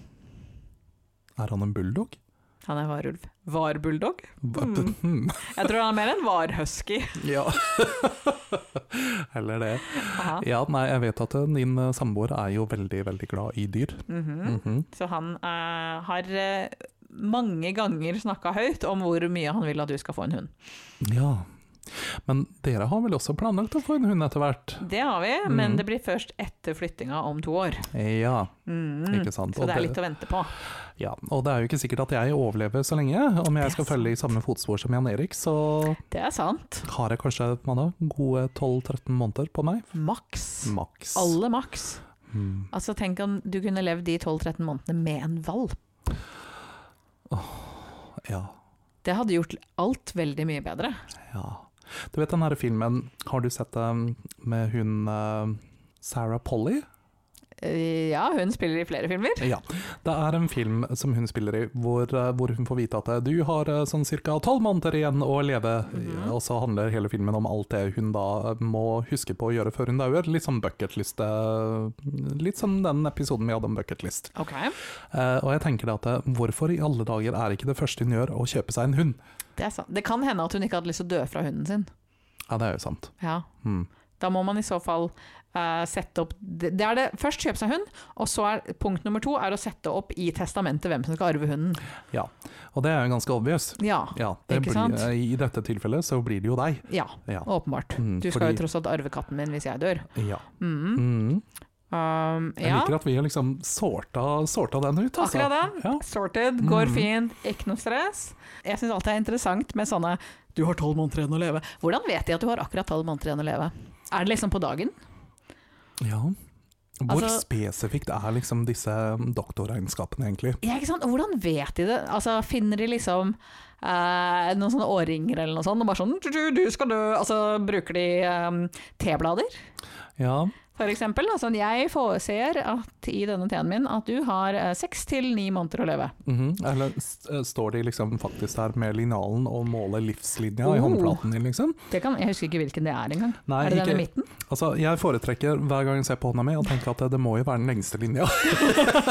S2: Er han en bulldog?
S1: Han er varulv. Var bulldog?
S2: Hva- Hmm.
S1: Jeg tror han er mer en var husky.
S2: Ja. Heller det.
S1: Aha.
S2: Ja, nei, jeg vet at eh, din eh, samboer er jo veldig, veldig glad i dyr.
S1: Mhm.
S2: Mhm.
S1: Så han eh, har eh, mange ganger snakka høyt om hvor mye han vil at du skal få en hund.
S2: Ja. Men dere har vel også planlagt å få en hund etter hvert?
S1: Det har vi,
S2: Mm.
S1: men det blir først etter flyttinga om to år.
S2: Ja,
S1: Mm.
S2: ikke sant.
S1: Så det
S2: Og
S1: er litt å vente på.
S2: ja, og det er jo ikke sikkert at jeg overlever så lenge. Om
S1: Det er
S2: jeg skal følge i samme fotspor som Jan Erik, så
S1: Det er sant.
S2: har jeg kanskje hva da, gode 12-13 måneder på meg.
S1: Maks.
S2: Maks.
S1: Alle maks.
S2: Mm.
S1: Altså, tenk om du kunne levd de 12-13 månedene med en valp.
S2: Ja,
S1: Det hadde gjort alt veldig mye bedre.
S2: ja. Du vet den her filmen, har du sett den med hun eh, Sarah Polly?
S1: Eh, Ja, hun spiller i flere filmer.
S2: Ja. Det er en film som hun spiller i, hvor, eh, hvor hun får vite at eh, du har eh, sånn ca. tolv måneder igjen å leve,
S1: Mhm.
S2: og så handler hele filmen om alt det hun da eh, må huske på å gjøre før hun dauer. Litt sånn bucketliste Litt som den episoden vi hadde om bucketlist.
S1: Ok.
S2: Eh, og jeg tenker da at eh, hvorfor i alle dager er ikke det første hun gjør å kjøpe seg en hund?
S1: Det er sant. Det kan hende at hun ikke hadde lyst til å dø fra hunden sin.
S2: Ja, det er jo sant.
S1: Ja.
S2: Mm.
S1: Da må man i så fall eh, sette opp det det er det, Først kjøpe seg hund, og så er punkt nummer to er å sette opp i testamentet hvem som skal arve hunden.
S2: Og det er jo ganske obvious.
S1: Ja.
S2: Ja, det
S1: Ikke
S2: blir,
S1: sant?
S2: eh, I dette tilfellet så blir det jo deg.
S1: Ja,
S2: Ja.
S1: åpenbart.
S2: Mm,
S1: Du skal
S2: fordi-
S1: jo tross alt arve katten min hvis jeg dør.
S2: ja.
S1: Mm.
S2: Mm.
S1: Um,
S2: Jeg
S1: ja,
S2: liker at vi har liksom sorta, sorta den ut, altså.
S1: akkurat det.
S2: Ja.
S1: Sorted, går
S2: Mm.
S1: fint, ikke noe stress. Jeg syns alltid det er interessant med sånne 'du har tolv måneder igjen å leve'. Hvordan vet de at du har akkurat tolv måneder igjen å leve? Er det liksom på dagen?
S2: Ja. Hvor
S1: Altså-
S2: spesifikt er liksom disse doktorregnskapene, egentlig?
S1: Ja, ikke sant? Hvordan vet de det? Altså, finner de liksom eh, noen sånne årringer eller noe sånt, og bare sånn du, du, 'du skal dø', altså bruker de eh, teblader?
S2: Ja,
S1: For eksempel, da, sånn, jeg foreser at i denne teen min at du har eh, seks til ni måneder å leve.
S2: mhm. Eller st står de liksom faktisk der med linjalen og måler livslinja i
S1: Oh.
S2: håndflaten din, liksom?
S1: Det kan, jeg husker ikke hvilken det er engang.
S2: Nei,
S1: er det den i
S2: ikke,
S1: midten?
S2: altså, jeg foretrekker hver gang jeg ser på hånda mi og tenker at det, det må jo være den lengste linja.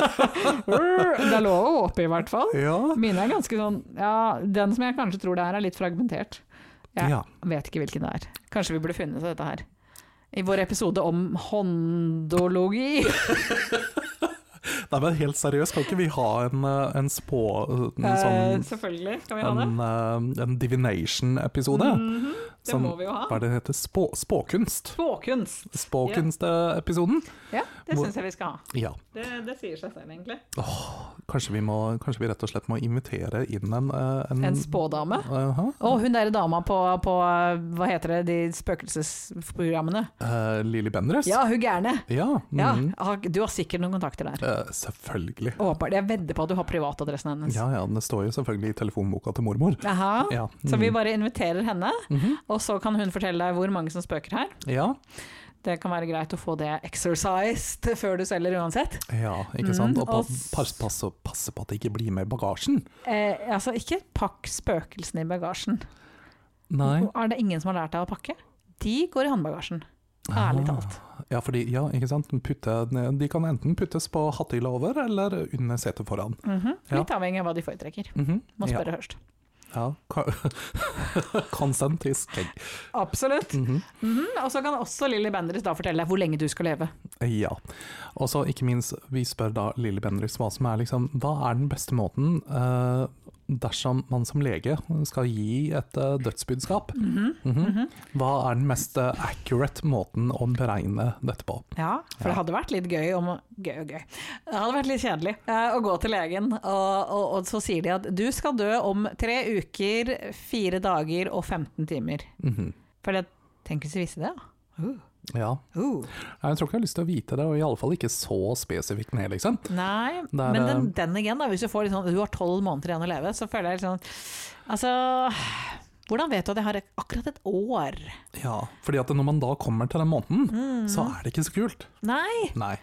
S1: Det er lov å håpe, i hvert fall.
S2: ja.
S1: Mine er ganske sånn Ja, den som jeg kanskje tror det er, er litt fragmentert. Ja.
S2: ja.
S1: Vet ikke hvilken det er. Kanskje vi burde funnet ut dette her. I vår episode om håndologi.
S2: Nei, men helt seriøst, kan ikke vi ha en, eh, en spå... En
S1: Eh,
S2: sånn
S1: selvfølgelig skal vi ha det.
S2: en, eh, en divination-episode?
S1: Mhm, det
S2: som-
S1: må vi jo
S2: Hva
S1: ha.
S2: er det det heter? Spå, spåkunst?
S1: Spåkunst.
S2: Spåkunst-episoden?
S1: Ja, det
S2: Hvor-
S1: syns jeg vi skal ha.
S2: Ja.
S1: Det, det sier seg selv, egentlig.
S2: Kanskje vi, må, kanskje vi rett og slett må invitere inn en eh,
S1: En spådame.
S2: Aha.
S1: Og hun derre dama på, på hva heter det, de spøkelsesprogrammene.
S2: Eh, Lilly Bendriss?
S1: Ja, hun gærne.
S2: Ja,
S1: Ja,
S2: mhm.
S1: har- du har sikkert noen kontakter der.
S2: Eh, selvfølgelig.
S1: Åpenbart. Jeg vedder på at du har privatadressen hennes.
S2: Ja, ja, det står jo selvfølgelig i telefonboka til mormor.
S1: Aha.
S2: Ja.
S1: Så vi
S2: mhm.
S1: bare inviterer henne,
S2: Mhm.
S1: og så kan hun fortelle deg hvor mange som spøker her.
S2: ja.
S1: Det kan være greit å få det exercised før du selger uansett.
S2: ja, ikke sant.
S1: Mhm,
S2: Og
S1: og
S2: pa-
S1: s-
S2: pass, pass, passe på at det ikke blir med i bagasjen.
S1: Eh, altså, ikke pakk spøkelsene i bagasjen.
S2: Nei.
S1: Er det ingen som har lært deg å pakke? De går i håndbagasjen.
S2: Ah.
S1: Ærlig talt.
S2: Ja, fordi, ja, ikke sant. Putte, de kan enten puttes på hattehylla over, eller under setet foran.
S1: Mhm.
S2: Ja.
S1: Litt avhengig av hva de foretrekker.
S2: Mhm.
S1: Må
S2: ja.
S1: spørre først.
S2: ja. Consent is king.
S1: Absolutt.
S2: Mhm.
S1: Mhm, Og så kan også Lilly Bendriss da fortelle deg hvor lenge du skal leve.
S2: Ja. Og så ikke minst, vi spør da Lille Bendriss hva som er liksom, hva er den beste måten eh, dersom man som lege skal gi et eh, dødsbudskap?
S1: Mhm,
S2: Mhm.
S1: mhm.
S2: Hva er den mest eh, accurate måten å beregne dette på?
S1: Ja, for det
S2: Ja.
S1: hadde vært litt gøy om Gøy og gøy. Det hadde vært litt kjedelig eh, å gå til legen, og, og, og så sier de at du skal dø om tre uker, fire dager og 15 timer.
S2: Mhm.
S1: For det Tenk hvis de visste det, da. Uh,
S2: Ja,
S1: uh.
S2: jeg tror ikke jeg har lyst til å vite det, og iallfall ikke så spesifikt ned, liksom.
S1: Nei,
S2: Det er,
S1: men
S2: eh,
S1: den, den igjen, da. Hvis du får litt sånn Du har tolv måneder igjen å leve, så føler jeg litt sånn Altså Hvordan vet du at jeg har akkurat et år?
S2: Ja, fordi at når man da kommer til den måneden,
S1: Mhm.
S2: så er det ikke så kult.
S1: Nei!
S2: Nei.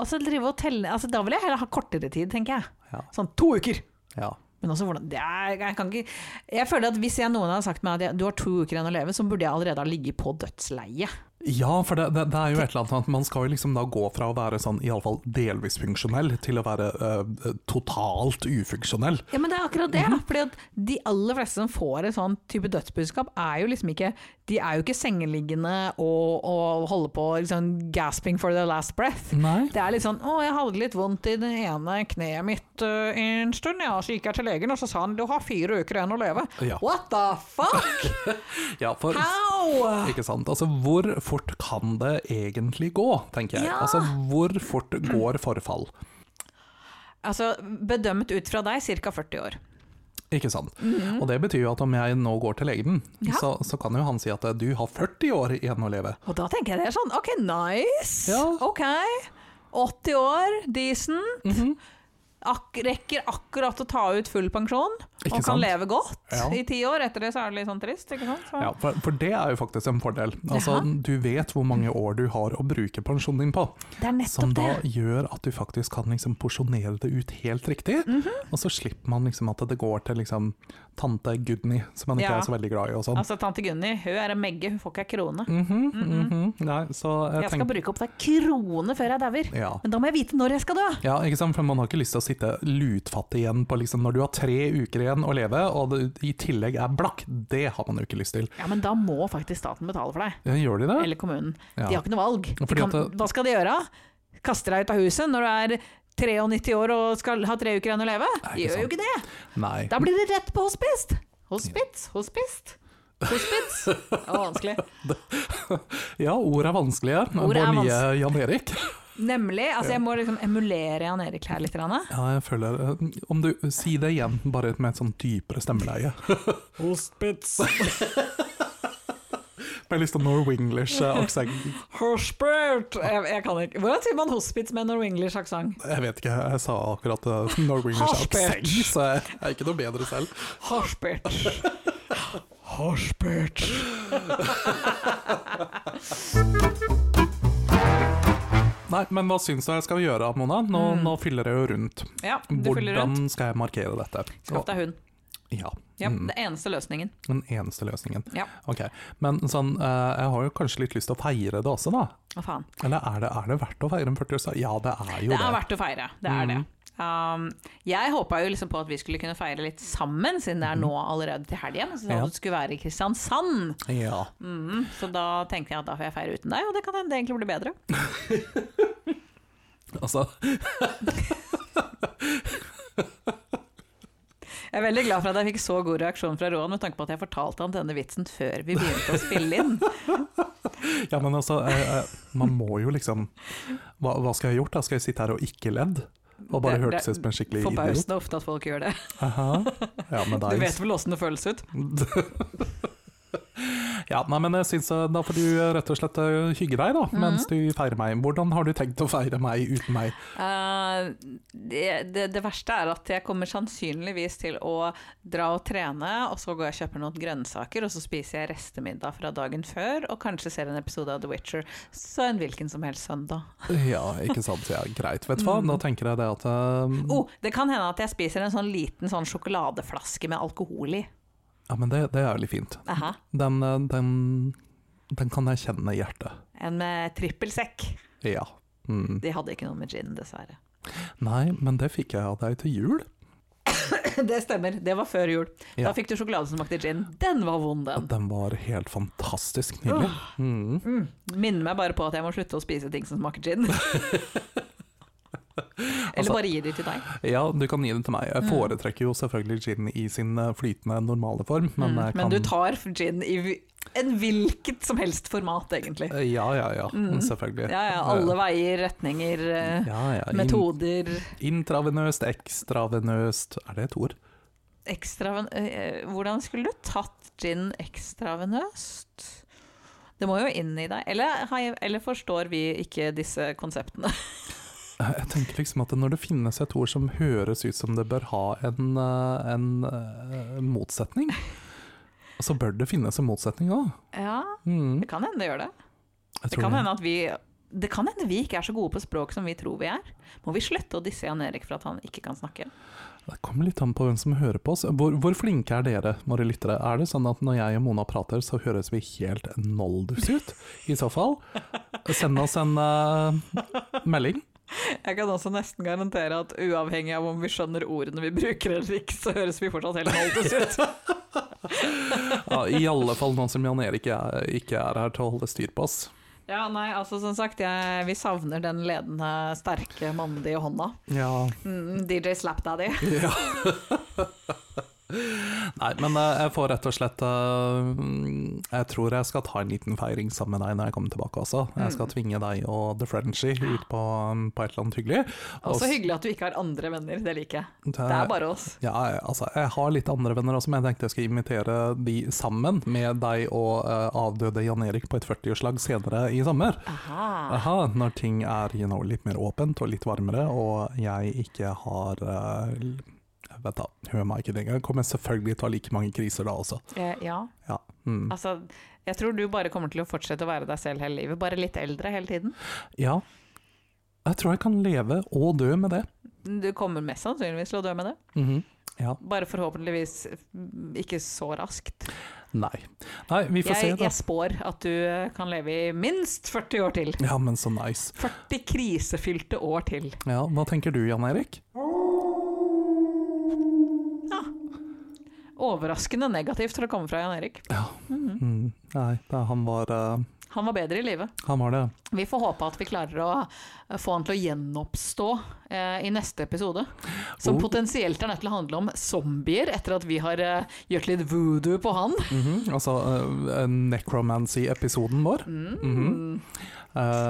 S1: Altså, drive og telle altså, Da vil jeg heller ha kortere tid, tenker jeg.
S2: Ja.
S1: Sånn to uker!
S2: Ja.
S1: Men også hvordan det er, jeg, kan ikke, jeg føler at hvis jeg, noen hadde sagt meg at jeg, du har to uker igjen å leve, så burde jeg allerede ha ligget på dødsleiet.
S2: Ja, for det, det, det er jo et eller annet med at man skal jo liksom da gå fra å være sånn iallfall delvis funksjonell, til å være eh, totalt ufunksjonell.
S1: Ja, men det er akkurat det. Fordi at de aller fleste som får et sånn type dødsbudskap, er jo liksom ikke De er jo ikke sengeliggende og, og holder på liksom gasping for their last breath.
S2: Nei.
S1: Det er litt sånn 'Å, jeg hadde litt vondt i det ene kneet mitt øh, en stund', ja. Så gikk jeg til legen, og så sa han 'du har fire uker igjen å leve'.
S2: Ja.
S1: What the fuck?
S2: Ja, for
S1: How?
S2: Ikke sant. Altså, hvor fort kan det egentlig gå, tenker jeg.
S1: Ja.
S2: Altså, hvor fort går forfall?
S1: Altså, bedømt ut fra deg, ca. 40 år.
S2: Ikke sant. Og det betyr jo at om jeg nå går til legen,
S1: Mhm. Ja.
S2: så, så kan jo han si at eh, du har 40 år igjen å leve.
S1: Og da tenker jeg det er sånn OK, nice.
S2: Ja.
S1: OK. 80 år, decent.
S2: Mhm.
S1: Ak rekker akkurat å ta ut full pensjon.
S2: Ikke
S1: og kan
S2: sant?
S1: leve godt
S2: Ja.
S1: i ti år. Etter det så er det litt sånn trist, ikke sant? Så.
S2: Ja, for, for det er jo faktisk en fordel. Altså,
S1: Jaha.
S2: Du vet hvor mange år du har å bruke pensjonen din på,
S1: Det er
S2: som
S1: nettopp
S2: da
S1: det.
S2: gjør at du faktisk kan liksom porsjonere det ut helt riktig.
S1: Mhm.
S2: Og så slipper man liksom at det går til liksom tante Gudny, som man ikke
S1: Ja.
S2: er så veldig glad i og sånn.
S1: Altså, tante Gunny, hun er en megge, hun får ikke ei krone.
S2: Mhm, mhm. Nei, så jeg,
S1: mm, Jeg skal
S2: tenker
S1: bruke opp hver krone før jeg dauer.
S2: ja.
S1: Men da må jeg vite når jeg skal dø!
S2: ja, ikke sant? For man har ikke lyst til å sitte lutfattig igjen på liksom når du har tre uker igjen å leve, og det i tillegg er blakk. Det har man jo ikke lyst til.
S1: Ja, men da må faktisk staten betale for deg.
S2: Ja, Gjør de det?
S1: Eller kommunen.
S2: Ja.
S1: De har ikke noe valg. De
S2: Fordi
S1: kan,
S2: at det-
S1: hva skal de gjøre? Kaste deg ut av huset når du er 93 år og skal ha tre uker igjen å leve?
S2: Nei,
S1: De
S2: ikke
S1: gjør jo ikke det!
S2: Nei.
S1: Da blir det rett på hospist! Hospits, hospist. Hospits. Det var vanskelig.
S2: Ja, ord er vanskelige.
S1: Ord
S2: Vår
S1: er vans-
S2: nye Jan Erik.
S1: Nemlig. Altså, jeg må liksom emulere Jan Erik her litt. grann.
S2: Ja, jeg føler eh, Om du Si det igjen, bare med et sånn dypere stemmeleie.
S1: Hospits.
S2: Med litt sånn Norwenglish-aksent.
S1: Hospit. Jeg, jeg kan ikke Hvordan sier man hospits med norwenglish-aksent?
S2: Jeg vet ikke, jeg sa akkurat eh, Norwenglish-aksent, så jeg er ikke noe bedre selv.
S1: Hospit. Hospit.
S2: Nei, men hva syns du jeg skal gjøre, Mona? Nå, nå fyller jeg jo rundt.
S1: Ja, Mm. du fyller
S2: Hvordan
S1: rundt.
S2: skal jeg markere dette?
S1: Skaff deg hund.
S2: Ja.
S1: Ja,
S2: mm,
S1: Det eneste løsningen.
S2: Den eneste løsningen.
S1: Ja.
S2: Ok. Men sånn, eh, jeg har jo kanskje litt lyst til å feire det også, da.
S1: Hva faen.
S2: Eller er det, er det verdt å feire en 40-årsdag? Ja, det er jo
S1: Det
S2: det. Mm.
S1: er verdt å feire. Det er det. Um, jeg håpa jo liksom på at vi skulle kunne feire litt sammen, siden det er nå allerede til helgen. Så
S2: Mm. Ja.
S1: ja. det skulle være i Kristiansand.
S2: Ja.
S1: Mm, så da tenkte jeg at da får jeg feire uten deg, og det kan hende det egentlig blir bedre.
S2: Altså,
S1: Jeg er veldig glad for at jeg fikk så god reaksjon fra Roan, med tanke på at jeg fortalte han denne vitsen før vi begynte å spille inn.
S2: Ja, men altså, eh, eh, man må jo liksom hva, hva skal jeg ha gjort da? Skal jeg sitte her og ikke ledd? Og bare
S1: Det- det-
S2: hørtes ut som en skikkelig idiot?
S1: Forbausende ofte at folk gjør det.
S2: Aha. Ja, men
S1: Du vet
S2: nice.
S1: vel åssen det føles ut?
S2: Ja, nei, men jeg synes eh, da får du eh, rett og slett eh, hygge deg
S1: Mhm.
S2: da, mens du feirer meg. Hvordan har du tenkt å feire meg uten meg?
S1: Eh, det, det, det verste er at jeg kommer sannsynligvis til å dra og trene, og så går jeg og kjøper noen grønnsaker, og så spiser jeg restemiddag fra dagen før, og kanskje ser en episode av The Witcher. Så en hvilken som helst søndag.
S2: Ja, ikke sant. Ja, greit. Vet du hva, da tenker jeg det at eh,
S1: Mhm. Oh, det kan hende at jeg spiser en sånn liten sånn sjokoladeflaske med alkohol i.
S2: Ja, men det, det er jo litt fint.
S1: Aha.
S2: Den, eh, den, den kan jeg kjenne i hjertet.
S1: En med trippelsekk.
S2: Ja. Mm.
S1: De hadde ikke noe med gin, dessverre.
S2: Nei, men det fikk jeg av deg til jul.
S1: Det stemmer, det var før jul.
S2: Ja.
S1: Da fikk du sjokolade som smakte gin. Den var vond, den.
S2: Den var helt fantastisk nydelig. Mm.
S1: Mm. Minner meg bare på at jeg må slutte å spise ting som smaker gin.
S2: Altså,
S1: Eller bare gi de til deg.
S2: Ja, du kan gi den til
S1: Mm.
S2: meg. Jeg foretrekker jo selvfølgelig gin i sin eh, flytende, normale form, men jeg kan
S1: Mm. Men du tar gin i vi- en hvilket som helst format, egentlig.
S2: Eh, Ja, ja, ja. Selvfølgelig.
S1: Mm. Ja, ja, alle veier, retninger, eh,
S2: ja, ja. In
S1: metoder
S2: Intravenøst, ekstravenøst Er det et ord?
S1: Ekstraven... eh, Hvordan skulle du tatt gin ekstravenøst? Det må jo inn i deg. Eller, har jeg- eller forstår vi ikke disse konseptene?
S2: Eh, Jeg tenker liksom at når det finnes et ord som høres ut som det bør ha en, eh, en eh, motsetning, så bør det finnes en motsetning òg.
S1: Ja,
S2: Mm.
S1: det kan hende det gjør det.
S2: Jeg
S1: Det
S2: tror
S1: kan
S2: det.
S1: hende at vi Det kan hende vi ikke er så gode på språk som vi tror vi er. Må vi slutte å disse Jan Erik for at han ikke kan snakke?
S2: Det kommer litt an på hvem som hører på oss. Hvor, hvor flinke er dere, våre lyttere? Er det sånn at når jeg og Mona prater, så høres vi helt noldus ut? I så fall, send oss en eh, melding.
S1: Jeg kan også nesten garantere at uavhengig av om vi skjønner ordene vi bruker eller ikke, så høres vi fortsatt helt holdtes ut.
S2: Ja, I alle fall nå som Jan Erik er, ikke er her til å holde styr på oss.
S1: Ja, nei, altså som sagt, jeg, vi savner den ledende, sterke, mandige hånda.
S2: Ja,
S1: Mm, DJ Slapdaddy.
S2: Ja. Nei, men eh, jeg får rett og slett eh, mm, Jeg tror jeg skal ta en liten feiring sammen med deg når jeg kommer tilbake også. Jeg
S1: Mm.
S2: skal tvinge deg og The Frenchie ut på, mm, på et eller annet hyggelig. Og
S1: Også
S2: s-
S1: hyggelig at du ikke har andre venner, det liker jeg.
S2: det-
S1: Det er bare oss.
S2: ja, jeg- altså, jeg har litt andre venner også, men jeg tenkte jeg skulle invitere de sammen med deg og eh, avdøde Jan Erik på et 40-årslag senere i sommer.
S1: Aha.
S2: Aha, når ting er you know, litt mer åpent og litt varmere, og jeg ikke har eh, l- Vet da, hør meg ikke lenger. Jeg kommer selvfølgelig til å ha like mange kriser da også.
S1: Eh, ja,
S2: Ja. Mm.
S1: altså jeg tror du bare kommer til å fortsette å være deg selv hele livet, bare litt eldre hele tiden.
S2: ja. Jeg tror jeg kan leve og dø med det.
S1: Du kommer mest sannsynligvis til å dø med det,
S2: Mhm. Ja.
S1: bare forhåpentligvis mm, ikke så raskt.
S2: Nei. Nei, vi får
S1: Jeg,
S2: se,
S1: jeg spår at du eh, kan leve i minst 40 år til.
S2: da. Ja, men så nice.
S1: 40 krisefylte år til.
S2: Ja, hva tenker du, Jan Erik?
S1: Overraskende negativt for å komme fra Jan Erik. Mhm.
S2: Mm. Nei, da, han var eh,
S1: Han var bedre i live.
S2: Han var det.
S1: Vi får håpe at vi klarer å eh, få han til å gjenoppstå eh, i neste episode. Som
S2: Oh.
S1: potensielt er nødt til å handle om zombier, etter at vi har eh, gjort litt voodoo på han.
S2: Mhm. Altså eh, necromancy-episoden vår.
S1: Mm.
S2: Mhm.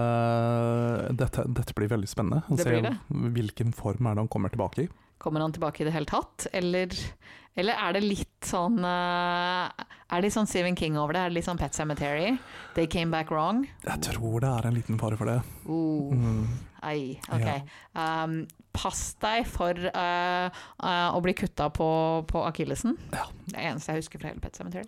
S2: Eh, dette, dette blir veldig spennende. Å
S1: Det
S2: se
S1: blir det.
S2: Hvilken form er det han kommer tilbake i?
S1: Kommer han tilbake i det hele tatt, eller, eller er det litt sånn eh, Er det litt sånn Stephen King over det? Er det litt sånn Pet Cemetery? They came back wrong?
S2: Jeg tror det er en liten fare for det.
S1: Uh.
S2: Mm.
S1: Ei, ok. Um, pass deg for eh, eh, å bli kutta på, på akillesen.
S2: Ja.
S1: Det er det eneste jeg husker fra hele Pet Cemetery.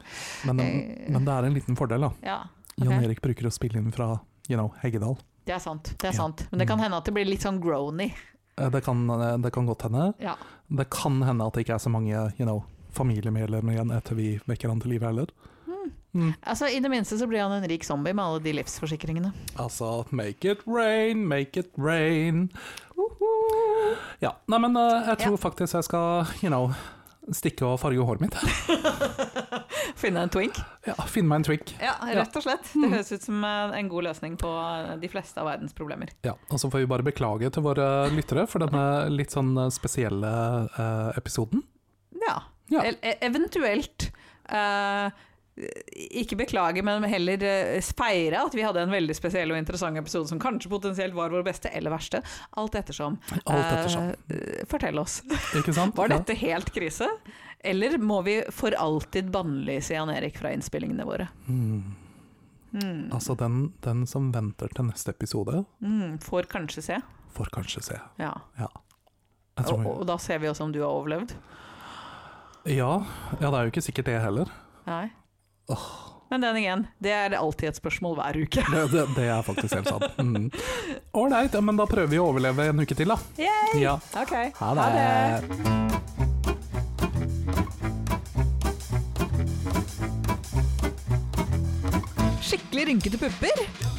S2: Men,
S1: Eh.
S2: men det er en liten fordel, da.
S1: Ja,
S2: Jan
S1: ok.
S2: Erik bruker å spille inn fra you know, Heggedal.
S1: Det er sant. det er
S2: Ja. Mm.
S1: sant. Men det kan hende at det blir litt sånn grony.
S2: Eh, Det kan, eh, det kan godt hende.
S1: Ja.
S2: Det kan hende at det ikke er så mange you know, familiemedlemmer igjen etter vi vekker han til live heller. Mm.
S1: Altså, I det minste så blir han en rik zombie med alle de livsforsikringene.
S2: Altså, make it rain, make it rain. Ja, nei, men eh, jeg tror faktisk jeg skal you know, stikke og farge håret mitt.
S1: Finne en twink.
S2: Ja, Finne meg en trick.
S1: Ja, rett og slett. Det høres ut som eh, en god løsning på eh, de fleste av verdens problemer.
S2: Ja, og så får vi bare beklage til våre lyttere for denne litt sånn eh, spesielle eh, episoden.
S1: Ja.
S2: Ja.
S1: E e- eventuelt eh, ikke beklage, men heller eh, feire at vi hadde en veldig spesiell og interessant episode som kanskje potensielt var vår beste eller verste. Alt ettersom.
S2: Alt ettersom,
S1: Eh, fortell oss.
S2: ikke sant?
S1: Var dette helt krise? Eller må vi for alltid bannlyse Jan Erik fra innspillingene våre?
S2: Ja. Hmm.
S1: Mm.
S2: Altså, den, den som venter til neste episode,
S1: Mm, får kanskje se.
S2: får kanskje se.
S1: Ja.
S2: Jeg tror
S1: Og, og da ser vi også om du har overlevd.
S2: ja, ja, det er jo ikke sikkert det heller.
S1: Nei. Men den igjen, det er alltid et spørsmål hver uke.
S2: Det, det, det er faktisk helt sant. Mm. Ålreit, ja, men da prøver vi å overleve en uke til, da.
S1: Yay!
S2: Ja.
S1: Ok,
S2: Ha det.
S1: Skikkelig rynkete pupper?